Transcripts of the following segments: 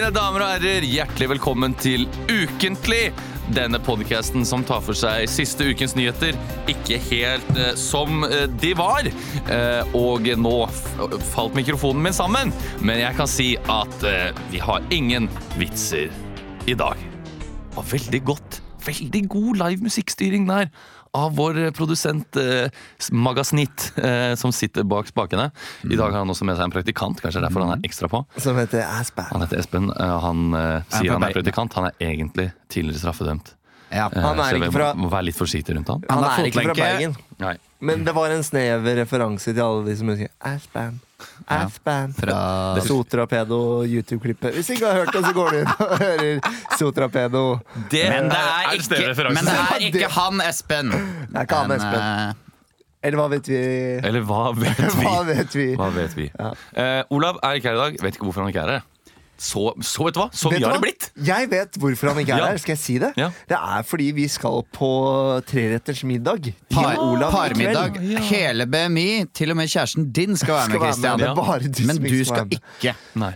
herrer, hjertelig velkommen til Ukentlig. Denne podcasten som tar for seg siste ukens nyheter, ikke helt eh, som eh, de var. Eh, og nå f- falt mikrofonen min sammen, men jeg kan si at eh, vi har ingen vitser i dag. Det var veldig godt. Veldig god live musikkstyring der av vår eh, produsent eh, Magasnitt, eh, som sitter bak spakene. I dag har han også med seg en praktikant, kanskje derfor han er ekstra på. Som heter Asper. Han heter Espen. eh, Han eh, sier fra han er Bergen. praktikant. Han er egentlig tidligere straffedømt. Ja. Eh, Han er så jeg ikke må- fra- må være litt forsiktig rundt han. Han Han er er ikke fra fotlenke. Bergen. Nei. Men det var en snever referanse til alle de som husker Aspan. Aspan. Fra Sotrapedo YouTube-klippet. Hvis ikke har hørt det, så går du inn og hører Sotrapedo. Det Men det er, en snever ikke, referanse. men det er Ja, ikke det- han Espen. er ikke han Men, Espen. eh, Eller hva vet vi? Eller hva vet vi? Hva vet vi? Hva vet vi? Ja. Eh, Olav er ikke her i dag. Vet ikke hvorfor han ikke er her. Så, så vet du hva? Så Vet mye du har det hva? blitt! Jeg vet hvorfor han ikke er Ja. her. Skal jeg si det? Ja. Det er fordi vi skal på treretters middag til Par, Olav i kveld. parmiddag. Hele BMI. Til og med kjæresten din skal være Skal med, være med, Christian. det er bare du Men du som ikke skal skal være med. ikke. Nei.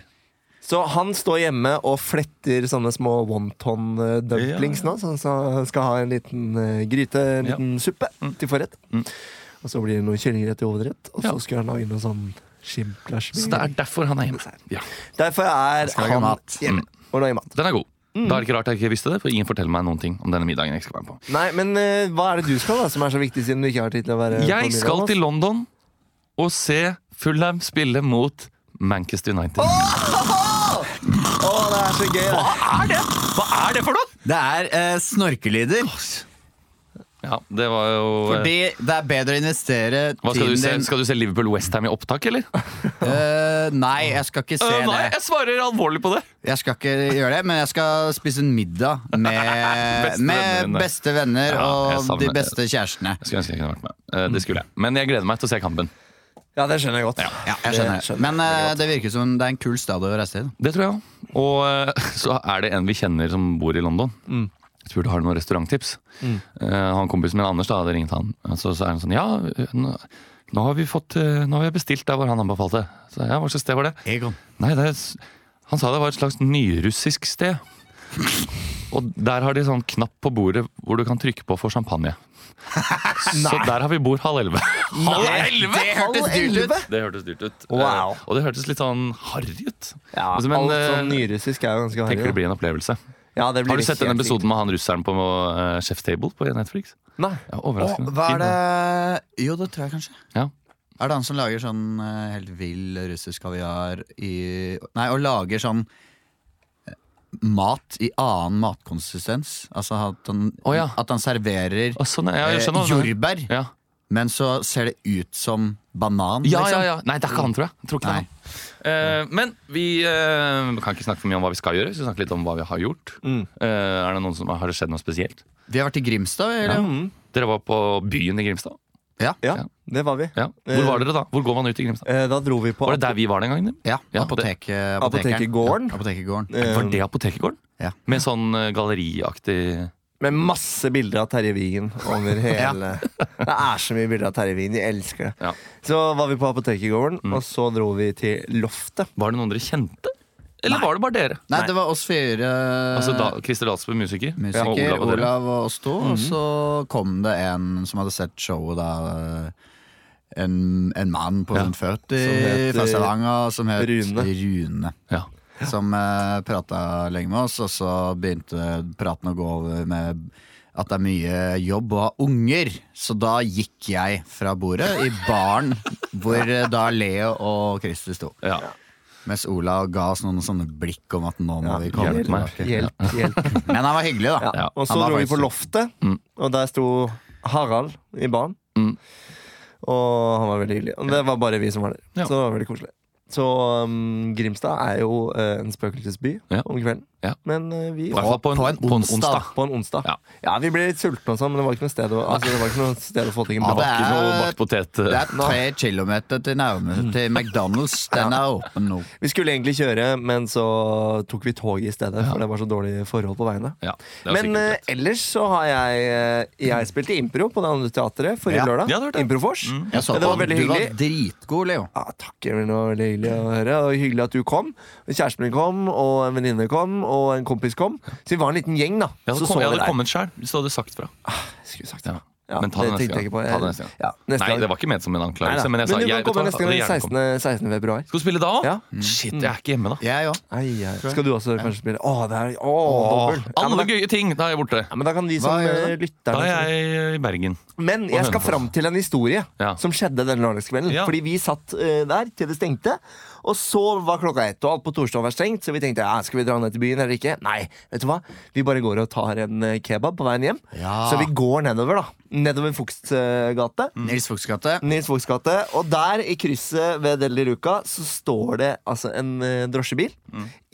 Så han står hjemme og fletter sånne små wonton eh, dumplings nå. Sånn, så han skal ha en liten eh, gryte, en Ja. Mm. liten suppe til forrett. Og så blir det noe kyllingrett til hovedrett, og så Ja. skal han lage noe sånn Så det er skimplasjmi. derfor han er hjemme. Mm. Ja. Derfor er skal lage han mat. hjemme Mm. og lager mat. Den er god. Mm. Da er det ikke rart jeg ikke visste det, for ingen forteller meg noen ting om denne middagen. jeg skal være på. Nei, men eh, hva er det du skal, da, som er så viktig, siden du ikke har tid til å være Eh, på Jeg middag skal med til oss? London og se Fulham spille mot Manchester United. Å, det er så gøy! da. Hva er det? Hva er det for noe?! Det er eh, snorkelyder. Ja, det var jo eh, Fordi det er bedre å investere Hva skal du tiden se? din Skal du se Liverpool-Westham i opptak, eller? Eh, Nei, jeg skal ikke se Øh, nei, det. jeg svarer alvorlig på det! Jeg skal ikke gjøre det, men jeg skal spise en middag med, Beste med vennene. beste venner Ja, jeg og de savner- beste kjærestene. Jeg skulle ønske jeg kunne vært med. Eh, Det skulle jeg. Men jeg gleder meg til å se kampen. Ja, det skjønner jeg godt. Ja, jeg Det skjønner. skjønner Men eh, det virker som det er en kul stad å reise til. Det tror jeg også. Og eh, så er det en vi kjenner som bor i London. Jeg spurte har du noen restauranttips. Eh, Han kompisen min Anders da, hadde ringt han. Så, så er han sånn Ja, nå, nå har vi fått eh, Nå har jeg bestilt der hvor han anbefalte. Så ja, hva slags sted var det? Egon. Nei, det er, s- han sa det var et slags nyrussisk sted. Og der har de sånn knapp på bordet hvor du kan trykke på for champagne. Så der har vi bord halv elleve. Halv elleve?! Det hørtes Halv dyrt ut! elleve? Det hørtes dyrt ut. Wow. Eh, Og det hørtes litt sånn harry ut. Ja, Altså, men, alt sånn eh, nyrussisk er jo ganske tenker harry. det blir en opplevelse. da. Ja, det blir Har du sett den helt sykt. episoden med han russeren på eh, Chef's Table på Netflix? Nei. Ja, overraskende. Hva er Fin, det da. Jo, det tror jeg kanskje. Ja. Er det han som lager sånn eh, helt vill russisk kaviar i Nei, og lager sånn eh, mat i annen matkonsistens? Altså at han, Å, ja. at han serverer Å, sånn, ja, eh, jeg skjønner. hva du mener. jordbær, Ja. men så ser det ut som banan, Ja, ja, liksom. ja. Nei, det er ikke han, tror jeg. jeg tror ikke det er Nei. han. Eh, men vi eh, kan ikke snakke for mye om hva vi skal gjøre. Vi skal snakke litt om hva vi har gjort. Mm. Eh, er det noen som Har det skjedd noe spesielt? Vi har vært i Grimstad, eller? Dere var på byen i Grimstad? Ja. Mm, Ja, det var vi. Ja. Eh. Hvor var dere da? Hvor går man ut i Grimstad? Eh, Da dro vi på Var det der vi var den gangen? Ja, Ja, apotek, eh, Apotekegården. Ja, apotekegården. Eh, Var det Apotekergården? Ja. Med sånn eh, galleriaktig Med masse bilder av Terje Wigen over hele Det er så mye bilder av Terje Wigen. Jeg elsker det. Ja. Så var vi på apotekegården, Mm. og så dro vi til Loftet. Var det noen dere kjente? Eller var det bare dere? Nei, det var oss fire Altså da, Christer Dalsbø, musiker. musiker, Og Olav og dere. Mhm. Olav og oss to. Og så kom det en som hadde sett showet da. eh, En, en mann på Ja. rundt 40 het, fra Stavanger som het Rune. Rune. Ja. Som eh, prata lenge med oss, og så begynte praten å gå over med at det er mye jobb og ha unger. Så da gikk jeg fra bordet i baren hvor eh, da Leo og Christer sto. Ja. Mens Olav ga oss noen sånne blikk om at nå må vi komme hjelp meg. tilbake. Hjelp, hjelp. Men han var hyggelig, da. Ja. Og så Han var dro vi faktisk på Loftet, og der sto Harald i baren. Mm. Og han var veldig hyggelig. Og det var bare vi som var der. Ja. Så det var veldig koselig. Så um, Grimstad er jo eh, en spøkelsesby Ja. om kvelden. Ja. Men eh, I vi hvert fall på en, På en på en onsdag. onsdag. på en onsdag. Ja. Ja, vi ble litt sultne og sånn, men det var ikke noe sted å, altså, det var ikke noe sted å få ting Ja, i mat. det Ikke noe er- bakt potet. eh, Det Eh, er tre kilometer til Mm. nærmeste til McDonald's. Den er åpen nå. Vi skulle egentlig kjøre, men så tok vi toget i stedet, for det var så dårlige forhold på veiene. Ja, det er Men sikkert eh, rett. ellers så har jeg eh, Jeg spilte impro på det andre teatret forrige Ja. lørdag. Ja, det Mm. hørte jeg. Improfors. Jeg så det var på den. veldig du var hyggelig. dritgod, Leo. Ja, takk, Emil. Det var veldig hyggelig. hyggelig å høre. Og hyggelig at du kom. Kjæresten min kom, og en venninne kom, og en kompis kom. Så vi var en liten gjeng, da. Jeg hadde, så kom, så jeg vi hadde der. kommet sjøl hvis du hadde sagt fra. Skulle sagt Ja. det. Ja, Men ta det neste tenkte gang. jeg ikke på. Ta det neste gang. Ja, neste Nei, gang. det var ikke ment som en Nei, anklagelse. nei. Men jeg sa du jeg, kan komme vet du hva, neste gang. jeg hadde gjerne kommet. 16. 16. februar. Skal du spille da òg? Ja. Shit, jeg er ikke hjemme da. Jeg òg. Ai, ai. Skal du også kanskje spille? Å, det er å, Åh, dobbel. Ja, men alle da- gøye ting! Da er jeg borte. ja, men da kan de som Hva gjør eh, du? Da lytter er jeg i Bergen. Men jeg skal fram til en historie Ja. som skjedde den lørdagskvelden. Ja. Fordi vi satt eh, der til det stengte, og så var klokka ett, og alt på torsdag var stengt, så vi tenkte ja, skal vi dra ned til byen eller ikke? Nei, vet du hva? Vi bare går og tar en eh, kebab på veien hjem. Ja. Så vi går nedover, da. Nedover Fugstgate. Nils Vogts gate. Nils Vogts gate. Og der, i krysset ved Deli Luca, så står det altså en eh, drosjebil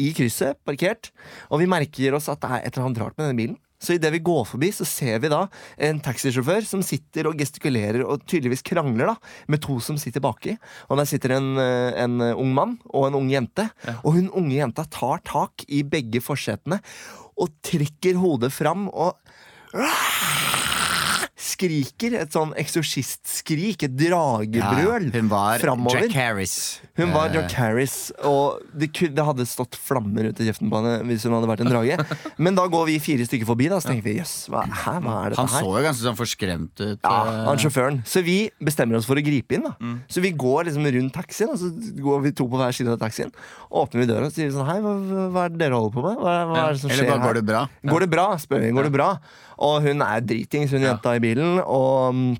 i krysset, parkert. Og vi merker oss at det er et eller annet rart med denne bilen. Så idet vi går forbi, så ser vi da en taxisjåfør som sitter og gestikulerer og tydeligvis krangler da, med to som sitter baki. Og der sitter en, eh, en ung mann og en ung jente. Og hun unge jenta tar tak i begge forsetene og trekker hodet fram og skriker et sånn eksorsistskrik, et dragebrøl, hun var framover. Jack Harris. Hun var Eh, Jack Harris, og det, ku- det hadde stått flammer ut i kjeften på henne hvis hun hadde vært en drage. Men da går vi fire stykker forbi, da, så tenker vi jøss, hva, hæ, hva er dette Han så her? jo ganske sånn forskremt ut. Ja, eh, Mm. han sjåføren. Så vi bestemmer oss for å gripe inn. da Så vi går liksom rundt taxien, og så går vi to på hver side av taxien. Åpner vi døra og sier sånn Hei, hva, hva er det dere holder på med? Hva, hva er det som skjer Eller bare her? går det bra? Går det bra? spør vi. Går det bra? Og hun er dritings, hun jenta i bilen, og,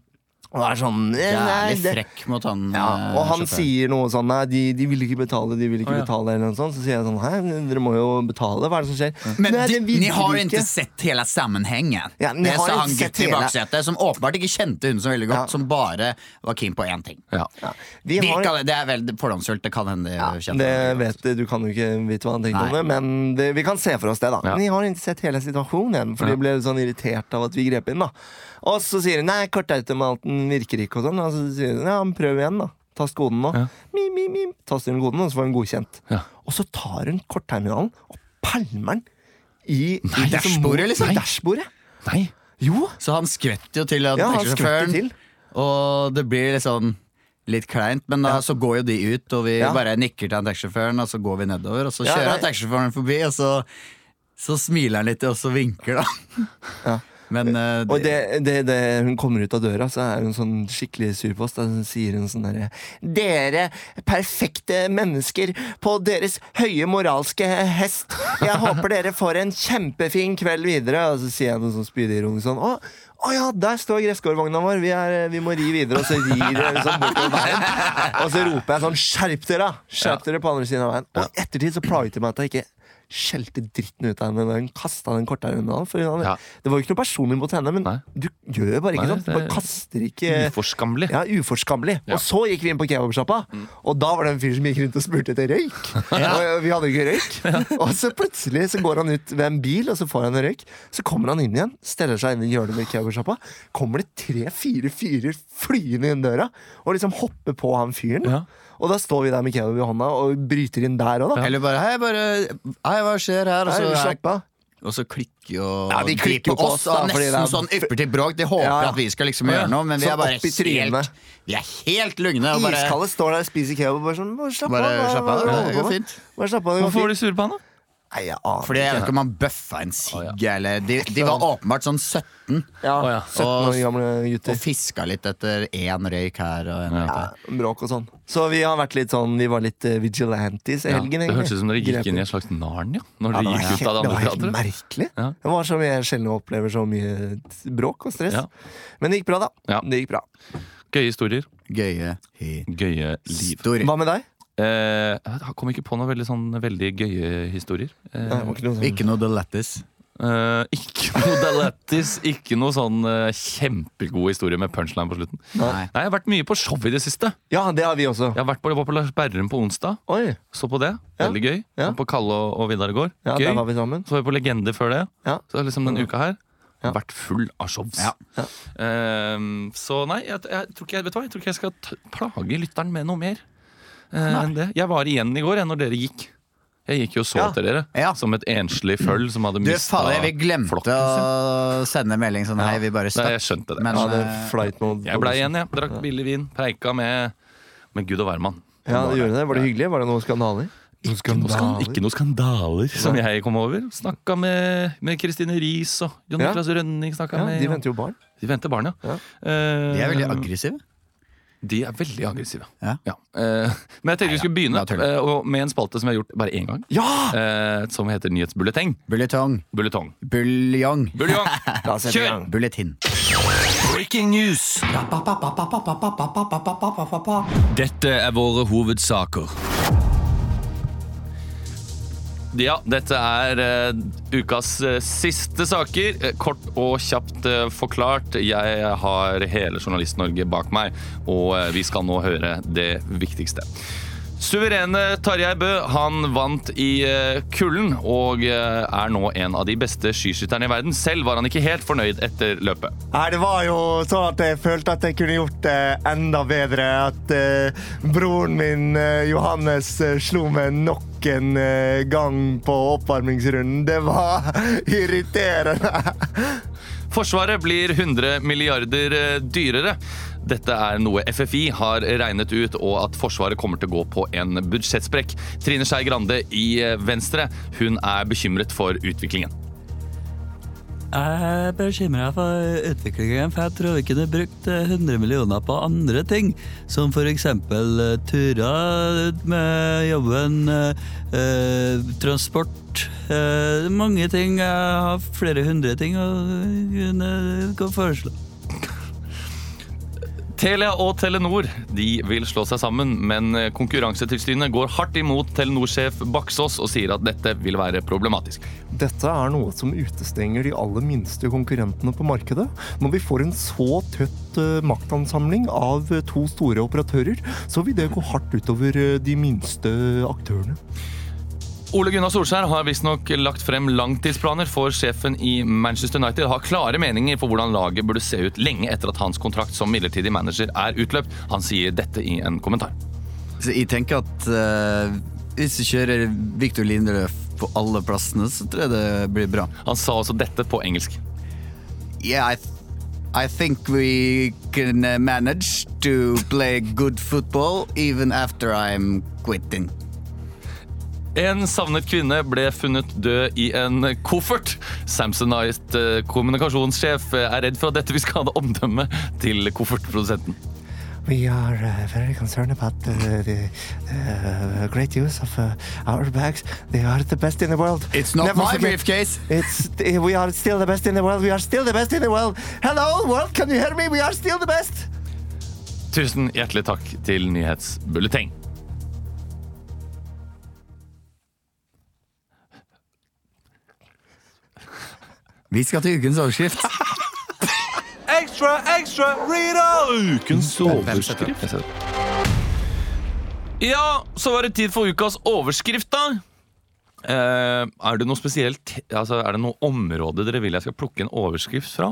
og er sånn «Eh, nei, Jævlig det- frekk mot han. ja, og eh, han sjåføren. sier noe sånn Nei, de, de vil ikke betale, de vil ikke Å, ja. betale eller noe sånt. Så sier jeg sånn Hei, dere må jo betale, hva er det som skjer? Men Nei, de, det vil ni har de ikke sett hele sammenhengen. Ja, ni det har sa ikke han sett gutten i hele- baksetet, som åpenbart ikke kjente hun så veldig godt, som bare var keen på én ting. Ja. ja, de De har, kan, det er veldig fordomsfullt, det kan hende de kjente Det henne godt. vet du, du kan jo ikke vite hva han tenkte om Nei. det, men det, vi kan se for oss det, da. Ja. De har ikke sett hele situasjonen, for de ble sånn irritert av at vi grep inn, da. Og så sier de nei, kortautomaten virker ikke, og sånn. Og så sier de ja, men prøv igjen, da. Tast koden nå. Ja. Mim, mim, mim. Taster hun koden, og så får hun godkjent. Ja. Og så tar hun kortterminalen og pælmer den i Nei, i liksom mot- dashbordet, liksom? i Dashbordet. Nei. Jo! Så han skvetter jo til Ja, han skvetter taxisjåføren, til. og det blir litt sånn Litt kleint, men da så går jo de ut, og vi Ja. bare nikker til han taxisjåføren, og så går vi nedover, og så Ja, kjører han nei. taxisjåføren forbi, og så, så smiler han litt, og så vinker, da. Men eh, Og det, det, det, hun kommer ut av døra, så er hun sånn skikkelig sur på oss. Da sier hun sånn derre Dere perfekte mennesker på deres høye moralske hest. Jeg håper dere får en kjempefin kveld videre. Og så sier jeg noe sånn spydigironisk sånn. Å, å ja, der står gresskårvogna vår. Vi, er, vi må ri videre. Og så rir jeg liksom bortover veien. Og så roper jeg sånn skjerp dere! da! Skjerp dere på andre siden av veien. Og i ettertid så plaget det meg at jeg ikke skjelte dritten ut av henne da hun kasta den kortærmen. For hun hadde, Ja. det var jo ikke noe personlig mot henne, men Nei. du gjør bare ikke Nei, sånn. Du det er bare kaster ikke Eh, Uforskammelig. ja, uforskammelig. Ja. Mm. Og så gikk vi inn på kebabsjappa, og da var det en fyr som gikk rundt og spurte etter røyk. Og vi hadde jo ikke røyk. Og så plutselig så går han ut ved en bil, og så får han en røyk. Så kommer han inn igjen, steller seg inn i hjørnet med kebabsjappa. Kommer det tre-fire fyrer flyende inn døra og liksom hopper på han fyren. Ja. Og da står vi der med kebab i hånda og bryter inn der òg, da. Eller bare Hei, bare, hei hva skjer her? Og Nei, så, er, slapp av. og så klikker jo Ja, de klikker jo på oss, da, og fordi det Nesten er- sånn ypper til bråk. De håper Ja, ja. at vi skal liksom Ja, ja. gjøre noe, men vi Sånn er bare opp i trynet. helt, vi er helt lugne. Og bare, Iskalde står der og spiser kebab og bare sånn Bare slapp av. bare hva- slapp hva- av. hva- Det går fint. Bare slapp av. det går Hvorfor var fint. de sure på han, da? Nei, jeg aner Fordi jeg vet ikke om han bøffa en sigg, Å, eller de, de var åpenbart sånn 17 Ja, Å, ja. 17 år gamle gutter. og fiska litt etter én røyk her og en røyk Ja, der. bråk og sånn. Så vi har vært litt sånn Vi var litt eh, vigilantes i helgen, Det hørtes ut som dere gikk inn i en slags Narnia. Når dere det var gikk ut helt, av det det var andre helt teatret. merkelig. Ja. Det var som jeg sjelden opplever så mye t- bråk og stress. Ja. Men det gikk bra, da. Ja. Det gikk bra. Gøye historier. Gøye Gøye liv. historier. Hva med deg? Eh, jeg kom ikke på noen veldig, sånn, veldig gøye historier. Eh, Nei, det var ikke noe sånn. Ikke noe the lettis. eh, ikke noe Dalettis, ikke noe sånn eh, kjempegod historie med punchline på slutten. Nei. Nei, Jeg har vært mye på show i det siste. Ja, det har vi også. Jeg har vært på, var på Lars Berrum på onsdag. Oi. Så på det. Ja. Veldig gøy. Ja. Og På Kalle og, og Vidar i går. Ja, gøy. der var vi sammen. Så var vi på Legende før det. Ja. Så liksom den uka her Ja. vært full av shows. Ja. Ja. Ehm, så nei, jeg, jeg, tror ikke, jeg, vet du hva? jeg tror ikke jeg skal t plage lytteren med noe mer eh, enn det. Jeg var igjen i går, jeg, når dere gikk. Jeg gikk jo og så Ja. etter dere, Ja. som et enslig føll som hadde Du, mista fader, vi glemte å sende melding sånn hei, vi bare Nei, stakk. jeg skjønte det. Men Ja, det eh, flight mode. Jeg blei igjen, jeg. Drakk billig vin. Preika med, med Gud og hvermann. Ja, det gjorde det. Var det hyggelig? Var det noen skandaler? Ikke noe, skan- ikke noe skandaler som jeg kom over. Snakka med med Kristine Riis og Jon Ja. Niklas Rønning. snakket Ja, med, de venter jo barn. de venter barn, ja. Ja. Eh, De er veldig aggressive. de er veldig aggressive. Ja. Eh, men jeg tenkte vi skulle begynne da tuller jeg. eh, og- med en spalte som jeg har gjort bare én gang. Ja! eh, som heter Nyhetsbulleteng. Bulletong. Bulletong. Buljong. Buljong! La oss sette i Kjør! gang. Bulletin. Breaking news! Dette er våre hovedsaker. Ja, dette er eh, ukas eh, siste saker. Eh, Kort og kjapt eh, forklart. Jeg har hele Journalist-Norge bak meg, og eh, vi skal nå høre det viktigste. Suverene Tarjei Bø han vant i eh, kulden og eh, er nå en av de beste skiskytterne i verden. Selv var han ikke helt fornøyd etter løpet. Nei, det var jo sånn at jeg følte at jeg kunne gjort det enda bedre. At eh, broren min eh, Johannes eh, slo meg nok en eh, gang på oppvarmingsrunden. Det var irriterende. Forsvaret blir 100 milliarder eh, dyrere. Dette er noe FFI har regnet ut, og at Forsvaret kommer til å gå på en budsjettsprekk. Trine Skei Grande i eh, Venstre hun er bekymret for utviklingen. Jeg er bekymra for utviklingen, for jeg tror vi kunne brukt eh, 100 millioner på andre ting. Som f.eks. turer ut med jobben, eh, eh, transport eh, Mange ting. Jeg har flere hundre ting å kunne gå og foreslå. Telia og Telenor de vil slå seg sammen, men eh, Konkurransetilsynet går hardt imot Telenor-sjef Baksås og sier at dette vil være problematisk. Dette er noe som utestenger de aller minste konkurrentene på markedet. Når vi får en så tøtt eh, maktansamling av eh, to store operatører, så vil det gå hardt utover eh, de minste aktørene. Ole Gunnar Solskjær har visstnok lagt frem langtidsplaner for sjefen i Manchester United. Har klare meninger for hvordan laget burde se ut lenge etter at hans kontrakt som midlertidig manager er utløpt. Han sier dette i en kommentar. Så jeg tenker at eh, hvis du kjører Victor Lindeløf på alle plassene, så tror jeg det blir bra. Han sa også dette på engelsk. Yeah, I, th- I think we can eh, manage to play good football even after I'm quitting. En savnet kvinne ble funnet død i en koffert. Samsonite eh, kommunikasjonssjef eh, er redd for at dette vil skade omdømmet til koffertprodusenten. We are uh, very concerned about uh, the uh, great use of uh, our bags. They are the best in the world. It's not Never my forget- briefcase. It's eh, we are still the best in the world. We are still the best in the world. Hello world, can you hear me? We are still the best. Tusen hjertelig takk til Nyhetsbulleteng. Vi skal til ukens overskrift. Extra, extra, read all! Ukens overskrift. Ja, så var det tid for ukas overskrift, da. Eh, er det noe spesielt Altså, er det noe område dere vil jeg skal plukke en overskrift fra?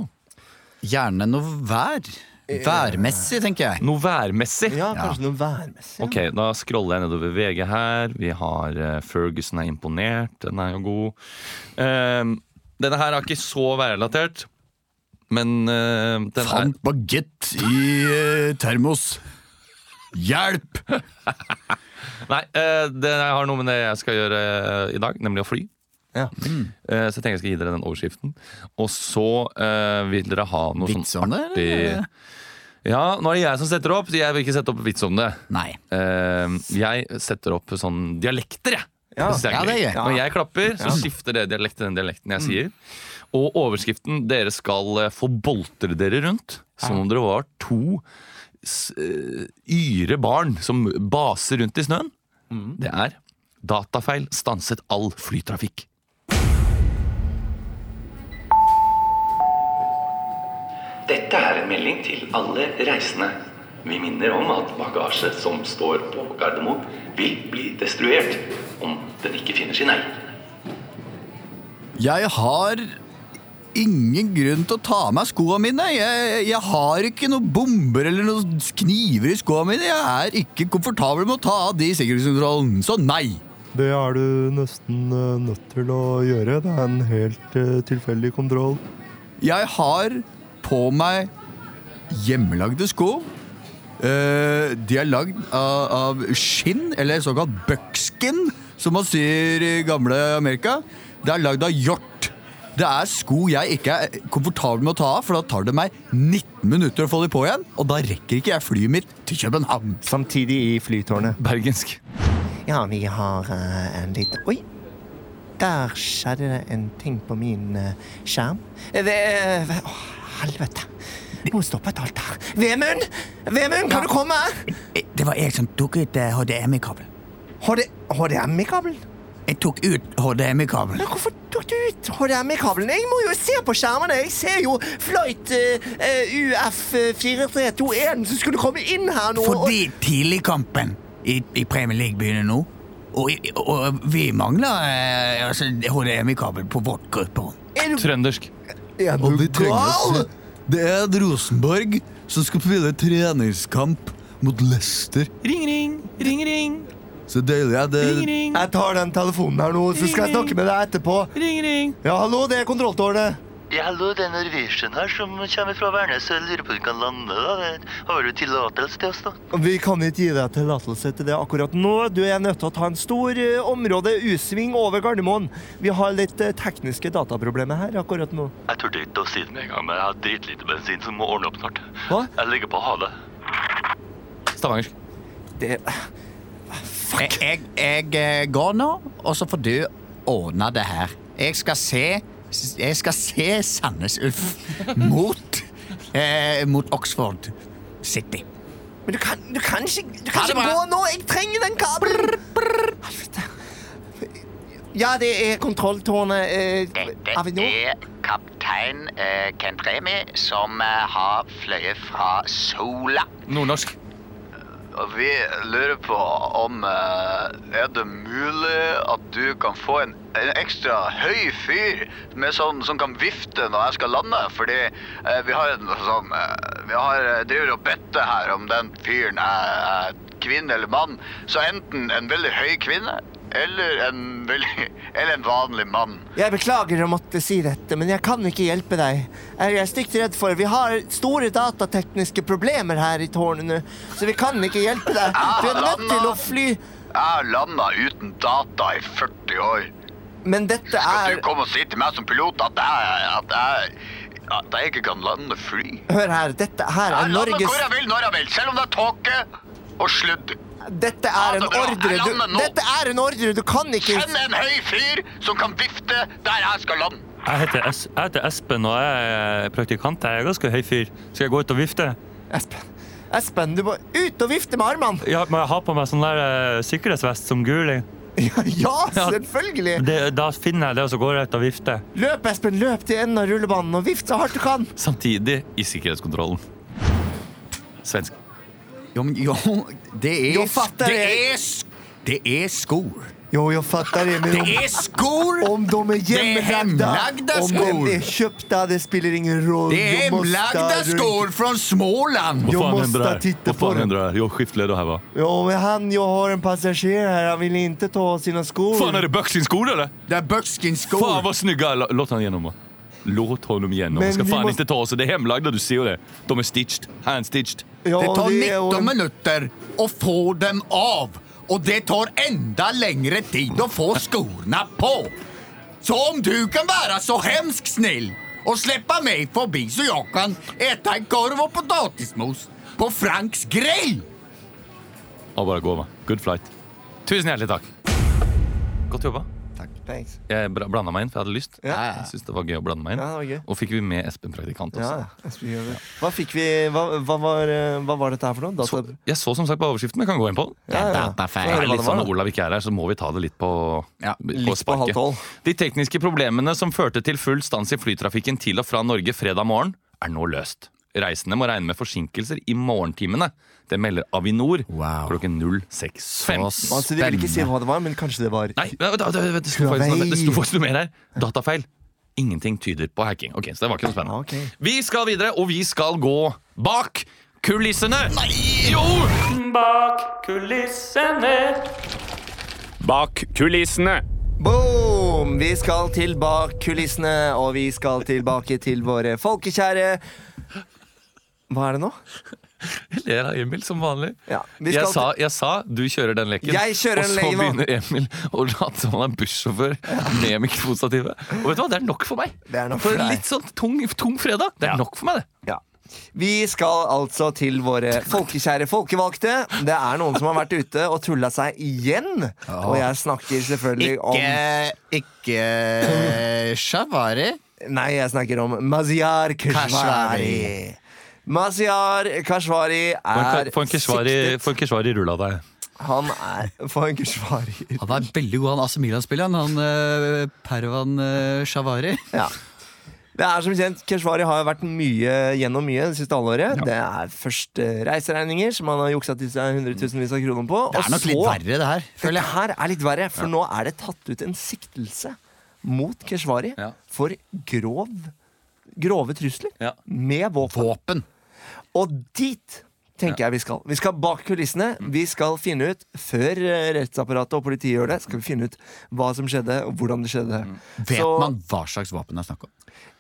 Gjerne noe vær. Værmessig, tenker jeg. Noe værmessig? Ja, kanskje noe værmessig. Ok, da scroller jeg nedover VG her. Vi har eh, Ferguson er imponert. Den er jo god. Eh, denne her er ikke så værrelatert, men eh, den er Fant bagett i eh, termos. Hjelp! Nei, eh, det har noe med det jeg skal gjøre eh, i dag, nemlig å fly. Ja. Eh, Så jeg tenker jeg skal gi dere den overskriften. Og så eh, vil dere ha noe Vits om sånn det, artig Ja, nå er det jeg som setter opp, så jeg vil ikke sette opp vits om det. Nei. Eh, jeg setter opp sånn dialekter, jeg. Ja. synes jeg Ja, det er gøy. gøy. Mm. Når jeg klapper, så skifter det dialekt til den dialekten jeg sier. Og overskriften 'Dere skal eh, få boltre dere rundt', som om dere var to s- eh, yre barn som baser rundt i snøen. Mm. Det er 'Datafeil stanset all flytrafikk'. Dette er en melding til alle reisende. Vi minner om at bagasje som står på Gardermoen, vil bli destruert om den ikke finner sin eier. Jeg har ingen grunn til å ta av meg skoene mine. Jeg, jeg har ikke noen bomber eller noen kniver i skoene mine. Jeg er ikke komfortabel med å ta av de i sikkerhetskontrollen, så nei. Det er du nesten eh, nødt til å gjøre. Det er en helt eh, tilfeldig kontroll. Jeg har på meg hjemmelagde sko Eh, de er lagd av, av skinn, eller såkalt buckskin, som man sier i gamle Amerika. Det er lagd av hjort. Det er sko jeg ikke er komfortabel med å ta av, for da tar det meg 19 minutter å få de på igjen, og da rekker ikke jeg flyet mitt til København. Samtidig i flytårnet. Bergensk. Ja, vi har eh, en liten Oi! Der skjedde det en ting på min eh, skjerm. Eh, Det eh, Å, helvete. Må stoppe et alt her. Vemund! Vemund, kan du komme? Eh, Det var jeg som tok ut eh, HDMI-kabelen. HD HDMI-kabelen? Jeg tok ut HDMI-kabelen. Men hvorfor tok du ut HDMI-kabelen? Jeg må jo se på skjermene. Jeg ser jo flight eh, eh, UF4321 som skulle komme inn her nå. og- Fordi tidligkampen i, i Premier League begynner nå. Og, i- og vi mangler eh, altså, HDMI-kabel på vårt grupperom. Er du Trøndersk. er Og du de trenger gal? det. eh, Det er et Rosenborg som skal spille treningskamp mot Leicester. Ring, ring, ring, ring. Så deilig er det. Ring, ring, Jeg tar den telefonen her nå, så skal jeg snakke med deg etterpå. ring, ring. Ja, hallo, det er kontrolltårnet. Ja, hallo, det er Norwegian her som kommer fra Værnes. Jeg lurer på om du kan lande, da. Det- Har du tillatelse til oss, da? Vi kan ikke gi deg tillatelse til det akkurat nå. Du er nødt til å ta en stor eh, område U-sving over Gardermoen. Vi har litt eh, tekniske dataproblemer her akkurat nå. Jeg turte ikke å si det med en gang, men jeg har dritlite bensin som må ordne opp snart. Hva? Jeg legger på. Ha det. Stavangersk. Det Jeg, jeg, jeg eh, går nå, og så får du ordne det her. Jeg skal se Jeg skal se Sandnes Ulf mot eh, Mot Oxford City. Men du kan, du kan ikke, du Ha kan det ikke bra. gå nå! Jeg trenger den kabelen! Helvete. Ja, det er kontrolltårnet eh, Avinor. er kaptein Kent Remi, som eh, har fløyet fra Sola. Nordnorsk. Vi lurer på om eh, Er det mulig at du kan få en, en ekstra høy fyr med sånn, som kan vifte når jeg skal lande? Fordi eh, vi har en sånn eh, Vi har, eh, driver og better her om den fyren er, er kvinne eller mann. Så enten en veldig høy kvinne eller en, veldig, eller en vanlig mann. Jeg beklager å måtte si dette, men jeg kan ikke hjelpe deg. Jeg er stygt redd for Vi har store datatekniske problemer her i tårnet nå, så vi kan ikke hjelpe deg. Ah, Du er nødt til å fly. Jeg har landa uten data i 40 år. Men dette Skal er du komme og si til meg som pilot at jeg, at jeg, at jeg ikke kan lande fly? Hør her, dette her Jeg er lander hvor Norges jeg vil, når jeg vil, selv om det er tåke og sludd. Dette er en ordre du Dette er en ordre du kan ikke Kjenn en høy fyr som kan vifte der jeg skal lande. Jeg heter, es jeg heter Espen, og jeg er praktikant. Jeg er ganske høy fyr. Skal jeg gå ut og vifte? Espen, Espen, du må ut og vifte med armene! Ja, må jeg ha på meg sånn der eh, sikkerhetsvest som guling? Ja, ja, selvfølgelig! Det, da finner jeg det, og så går jeg ut og vifter. Løp, Espen, løp til enden av rullebanen og vift så hardt du kan. Samtidig i sikkerhetskontrollen. Svensk. Jo, men jo, det er Jo, fatter det. jeg. Er, s- det er skor. Jo, jeg fatter det, men Det om, er skor! om de er hjemmelagda, hemlagda om skor. de er kjøpta, det spiller ingen rolle. Det er Jeg måste hemlagda runt- skor fra Småland! Jag måste titta Hva på faen den. hender det? Jo, skiftleder her, hva? Jo, men han, jeg har en passager her, han vill inte ta av sina skor. Faen, er det Bucks sin skole, eller? Det er buckskin-skor. Faen, hva snygga! La- Låt han gjennom. va? Låt honom gjennom. Men Han skal vi faen må- ikke ta oss. Det er hemlagda, du ser jo det. De er stitched. Handstitched. Ja, Det tar det är- 19 minutter å få dem av. Og det tar enda lengre tid å få skorna på. Så om du kan være så hemsk snill og slippe meg forbi så jeg kan ete en korv og potetmos på Franks grill Ja, bare gå, va. Good flight. Tusen hjertelig takk. Godt jobba. Thanks. Jeg bra- blanda meg inn, for jeg hadde lyst. Ja. Jeg synes det var gøy å blande meg inn. Ja, det var gøy. Og fikk vi med Espen Praktikant også. Ja, jeg skulle gjøre det. Hva fikk vi Hva, hva, var, eh, hva var dette her for noe? Så, Data... jeg så som sagt på overskriften, men jeg kan gå inn på den. Ja, ja. Det Ja, er det litt var sånn det. Når Olav ikke er her, så må vi ta det litt på, Ja, på litt på halv sparket. tolv. De tekniske problemene som førte til full stans i flytrafikken til og fra Norge fredag morgen, er nå løst. Reisende må regne med forsinkelser i morgentimene. Det melder Avinor Wow. klokken 06.15. Altså, de ville ikke si hva det var, men kanskje det var Nei, vent, vent, vent, vent, det sto faktisk noe- det sto faktisk noe mer her. Datafeil. Ingenting tyder på hacking. Ok, Så det var ikke noe spennende. Ah, ok. Vi skal videre, og vi skal gå bak kulissene! Nei! Jo! Bak kulissene. Bak kulissene. Boom! Vi skal til bak kulissene, og vi skal tilbake til våre folkekjære Hva er det nå? Jeg ler av Emil som vanlig. vi jeg, skal sa, jeg sa du kjører den leken, Jeg kjører og den så leken nå. begynner Emil å late som han er bussjåfør med mikrofonstativet. Og vet du hva, det er nok for meg. Det er nok for for deg. en litt sånn tung, tung fredag. Det er nok for meg, det. Ja. Vi skal altså til våre folkekjære folkevalgte. Det er noen som har vært ute og tulla seg igjen. Og jeg snakker selvfølgelig om Ikke, ikke Shavari. Nei, jeg snakker om Mazyar Keshvari. Keshvari. Mazyar Keshvari er Få en keshvari- få en keshvari rull av deg. Han er Få en keshvari. Han er veldig god, han AC Milan-spilleren. Han eh, Pervan eh, Shavari. Ja. Det er som kjent, Keshvari har vært mye gjennom mye det siste halvåret. Det er først eh, reiseregninger, som han har juksa til seg hundretusenvis av kroner på. Det er nok litt verre, det her. Dette her er litt verre, for nå er det tatt ut en siktelse mot Keshvari Ja. for grov, grove trusler Ja. med våpen. Våpen. Og dit tenker jeg vi skal. Vi skal bak kulissene. Mm. Vi skal finne ut, før eh, rettsapparatet og politiet gjør det, skal vi finne ut hva som skjedde, og hvordan det skjedde. Mm. Vet Så- man hva slags våpen det er snakk om?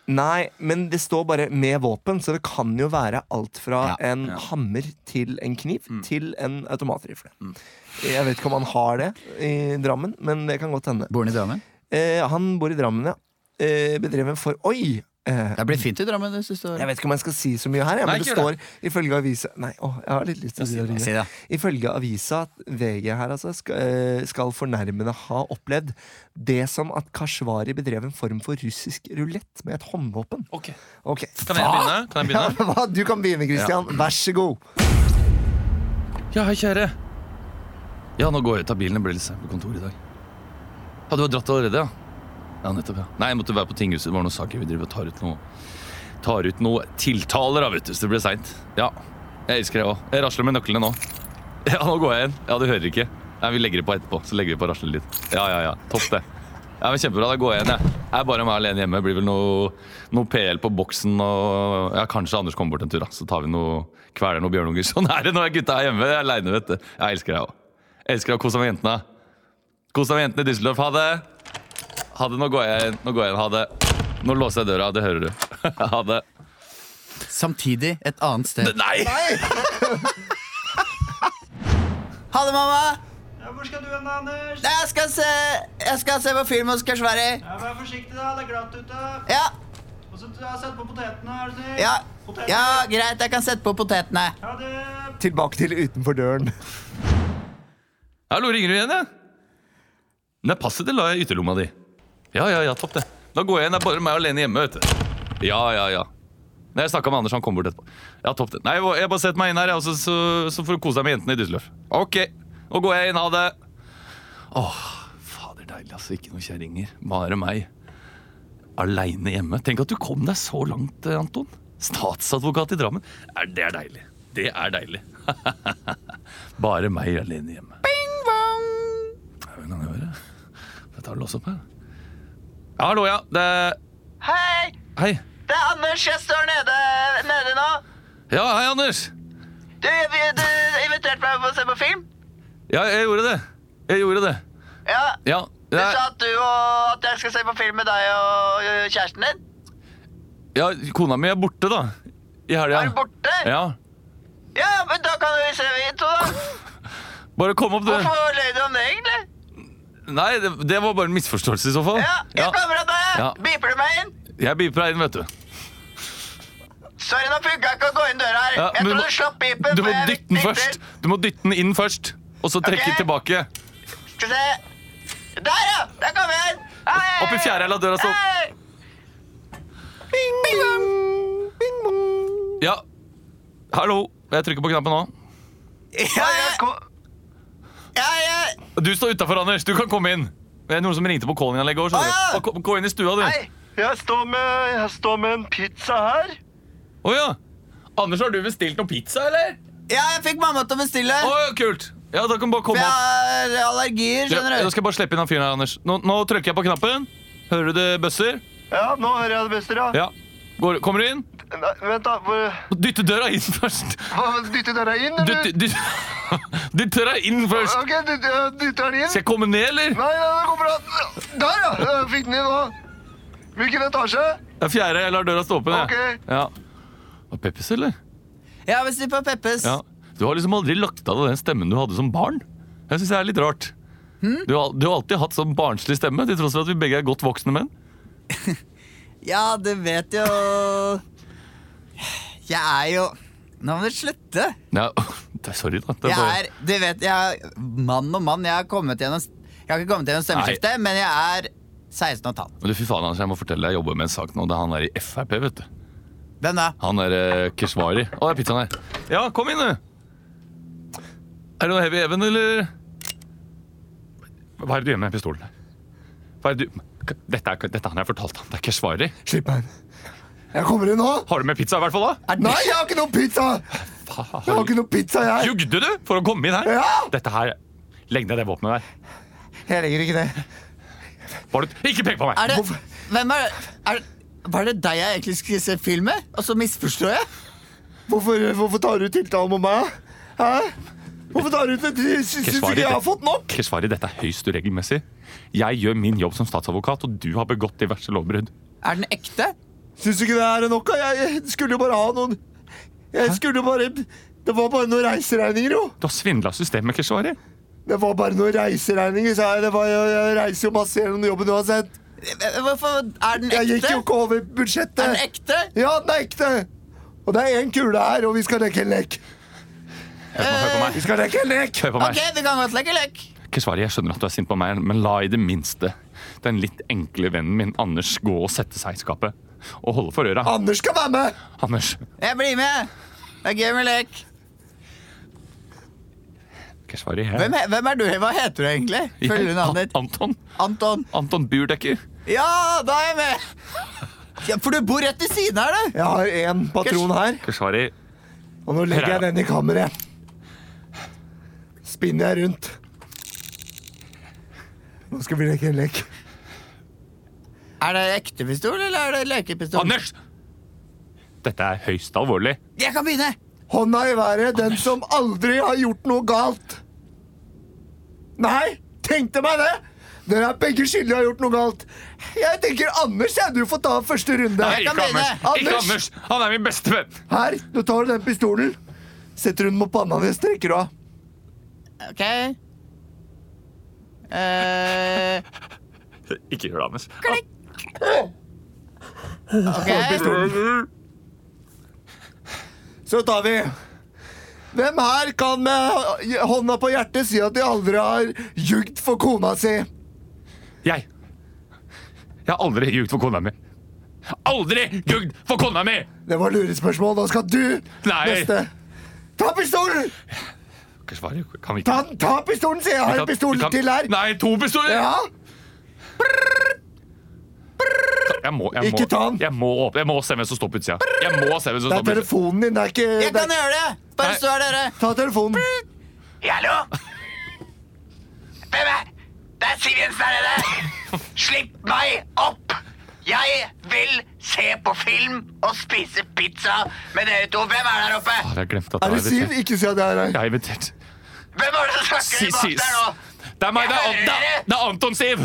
Nei, men det står bare 'med våpen', så det kan jo være alt fra en hammer til en kniv til en automatrifle. Jeg vet ikke om han har det i Drammen, men det kan godt hende. Bor han i Drammen? Eh, han bor i Drammen, ja. Eh, bedrevet for Oi! Eh, Det blir fint i Drammen det siste jeg året. vet ikke om jeg skal si så mye her, ja, Nei, men det ikke står ifølge avisa Nei, å, jeg har litt lyst til å si det. Si Rune. det. Ifølge avisa at VG her altså skal, eh, skal fornærmede ha opplevd det som at Kashvari bedrev en form for russisk rulett med et håndvåpen. Ok. Kan jeg begynne? Kan jeg begynne? Hva? Du kan begynne, Christian. Vær så god. Ja, hei, kjære. Ja, nå går jeg ut av bilen. Det ble litt seint på kontoret i dag. Ja, du har dratt allerede, ja? Ja, nettopp, ja. Nei, jeg måtte være på tinghuset. Det var noen saker. Vi driver og tar ut noe Tar ut noe tiltaler, da, vet du. Så det ble seint. Ja. Jeg elsker deg òg. Jeg rasler med nøklene nå. Ja, nå går jeg inn. Ja, du hører ikke. Nei, vi legger det på etterpå. Så legger vi på å rasle litt. Ja, ja, ja. Topp, det. Ja, men Kjempebra. Da går jeg inn, jeg. Jeg er bare meg alene hjemme. Det blir vel noe, noe PL på boksen og Ja, kanskje Anders kommer bort en tur, da. Så tar vi noe Kveler noen bjørnunger. Sånn er det når gutta er hjemme. Jeg er aleine, vet du. Jeg elsker deg òg. Elsker deg. Kos deg med jentene. Kos deg med jentene i Düsseldorf. Ha det. Ha det. Nå går jeg inn. Nå går jeg inn. Ha det. Nå låser jeg døra. Det hører du. ha det. Samtidig et annet sted. Nei! Ha det, mamma! Ja, hvor skal du hen, Anders? Nei, Jeg skal se, jeg skal se på film hos Keshvari. Ja, Vær forsiktig, da. Det er glatt ute. Ja, Og så ja, Sett på potetene, er du snill. ja, Potetene. ja, greit. Jeg kan sette på potetene. Ha det. Tilbake til utenfor døren. Hallo, ringer du igjen, ja? Nei, passet det la jeg i ytterlomma di. Ja, ja, ja, topp det. Da går jeg inn. Det er bare meg alene hjemme, vet du. Ja, ja, ja. Nei, Jeg snakka med Anders, han kom bort etterpå. Ja, topp det. Nei, jeg må- jeg bare setter meg inn her, jeg også, så, så får du kose deg med jentene i Düsseldorf. Ok, nå går jeg inn. Ha det. Åh, fader deilig, altså. Ikke noen kjerringer. Bare meg. Aleine hjemme. Tenk at du kom deg så langt, eh, Anton. Statsadvokat i Drammen. Er- Det er deilig. Det er deilig. bare meg alene hjemme. Hva kan jeg gjøre? Får jeg ta og låse opp her? Ja, hallo, ja. Det Hei! Hei. Det er Anders. Jeg står nede, nede nå. Ja, hei, Anders. Du, vi, du inviterte meg på å se på film. Ja, jeg gjorde det. Jeg gjorde det. Ja. Ja. Du jeg- sa at, du og, at jeg skal se på film med deg og ø, kjæresten din. ja, kona mi er borte, da. I helga. Er du borte? Ja. Ja, men da kan vi se vi to, da. Bare kom opp, du. Hvorfor løy du om det, egentlig? Nei, det, det var bare en misforståelse i så fall. Ja, jeg kommer av deg. Ja. Beeper du meg inn? Jeg beeper deg inn, vet du. Sorry, nå funka ikke å gå inn døra her. Ja, jeg men tror du må- du slapp beepen. Du må for jeg dytte den dytter. først. Du må dytte den inn først, og så trekke Ok. tilbake. Skal vi se. Der, ja! Der kom jeg inn. Hei, hei, Opp i altså. hei. fjæra, la døra stå. Hei. Ja. Hallo. Jeg trykker på knappen nå. Ja, ja, kom. Ja, ja. Du står utafor, Anders. Du kan komme inn. Det er noen som ringte på callinganlegget òg. Å, ja. Gå gå inn i stua, du. Hei. Ah, Jeg står, med, jeg står med en pizza her. Å ja. Anders, har du bestilt noe pizza, eller? Ja, jeg fikk mamma til å bestille. Å ja, kult. Ja, da kan du bare For komme jeg opp. har allergier, Ja, skjønner da du. skal jeg bare slippe inn han fyren her, Anders. Nå, nå trykker jeg på knappen. Hører du det bøsser? Ja, nå hører jeg det beste, da. Ja. Går, kommer du inn? Nei, vent, da. Hvor- Dytte døra inn først. hva, Dytter dere inn, eller? Dytte dytt, dytt døra inn først. Ok, dytter, dytter den inn? Skal jeg komme ned, eller? Nei, nei, det går bra. Der, ja! Jeg Fikk den inn nå. Hvilken etasje? Det er fjerde. Jeg lar døra stå åpen. jeg. Ok. Ja. Var Peppes, eller? Jeg vil si på Peppes. Ja. Du har liksom aldri lagt av deg den stemmen du hadde som barn. Jeg synes det er litt rart. Hmm? Du, har, du har alltid hatt sånn barnslig stemme, til tross for at vi begge er godt voksne menn. ja, du vet jo Jeg er jo Nå må du slutte. Ja, det er sorry, da. Det er Jeg bare... er, du vet, jeg er mann og mann. Jeg har, kommet gjennom, jeg har ikke kommet gjennom stemmeskifte, men jeg er 16 og et halvt. Men du, fy faen, Anders, jeg må fortelle deg, jeg jobber med en sak nå. Det er han der i Frp, vet du. Hvem da? Han er eh, Keshvari. Å, det er pizzaen her. Ja, kom inn, du. Er det noe heavy even, eller? Hva er det du gjør med den pistolen? Hva er det du... Dette er, dette er han jeg fortalte om. Det er Keshvari. Slipp meg inn. Jeg kommer inn nå. Har du med pizza i hvert fall, da? Nei, jeg har ikke noe pizza! Jeg har ikke noe pizza, jeg. Jugde du for å komme inn her? Ja. Dette her... Legg ned det våpenet der. Jeg legger ikke det. Var du... Ikke pek på meg! Er det, hvem er, er Var det deg jeg egentlig skulle se film med? Og så misforstår jeg? Hvorfor, hvorfor tar du tiltale mot meg? Hæ? Hvorfor tar du ut det? Syns Keshvari, ikke jeg har det- fått nok? Keshvari, dette er høyst uregelmessig. Jeg gjør min jobb som statsadvokat, og du har begått diverse lovbrudd. Er den ekte? Syns du ikke det er nok? Jeg, jeg skulle jo bare ha noen Jeg skulle jo bare Det var bare noen reiseregninger, jo. Du har svindla systemet, Keshvari. Det var bare noen reiseregninger, sa jeg. Det var, jeg, jeg reiser jo masse gjennom jobben uansett. Eh, Hvorfor er den Jeg gikk ekte? jo ikke over Er den budsjettet. ekte? Ja, den er ekte. Og det er én kule her, og vi skal leke en lek. Hør på meg. Vi Eh, skal leke en lek. Hør på meg. Ok, vi kan godt leke lek. Keshvari, jeg skjønner at du er sint på meg, men la i det minste den litt enkle vennen min Anders gå og sette seg i skapet. Og holde for øra. Anders skal være med. Anders. Jeg blir med. Det er gøy med lek. Keshvari. jeg- Hvem, he- hvem er du? Hva heter du egentlig? Følger du navnet ditt? Anton. Anton. Anton Burdekker. Ja, da er jeg med! Ja, for du bor rett ved siden her, du. Jeg har én patron her, Keshvari. og nå legger jeg den i kammeret. Spinner jeg rundt. Nå skal vi leke en lek. Er det ekte pistol, eller er det lekepistol? Anders! Dette er høyst alvorlig. Jeg kan begynne! Hånda i været, den som aldri har gjort noe galt. Nei, tenkte meg det! Dere er begge skyldige i å ha gjort noe galt. Jeg tenker Anders, jeg, du får ta første runde. Nei, ikke kan begynne. Anders. Ikke Anders! Han er min beste venn! Her, du tar den pistolen. Setter hun mot panna di, strekker du av. Ok. Eh, Ikke gjør det, Anders. ok. Eh. Så tar vi Hvem her kan med hånda på hjertet si at de aldri har jugd for kona si? Jeg Jeg har aldri ljugd for kona mi. Aldri ljugd for kona mi! Det var lurespørsmål. Nå skal du Nei. neste. Ta pistolen! Keshvari, kan vi ikke Ta, den, ta pistolen, sier jeg. Jeg Vi har kan- en pistol vi kan- til her. Nei, to pistoler! Ja, Jeg må, jeg Ikke må, ta den. Jeg må, åp- jeg må se hvem som står på utsida. Jeg må se hvem som det står på er utsida. telefonen din. Det er ikke Jeg det kan er, gjøre det! Bare Nei. stå her, dere. Ta telefonen. Hallo? Hvem er Det er Siv Jensen her nede! Slipp meg opp! Jeg vil se på film og spise pizza med dere to. Hvem er der oppe? Faen, Ah, Jeg glemte at Er jeg det var Siv? invitert. Ikke si at det er her. Jeg er invitert. Hvem er det som snakker Si, i bak si. der nå? Det er meg. Det er, An- det er, det er Anton Siv!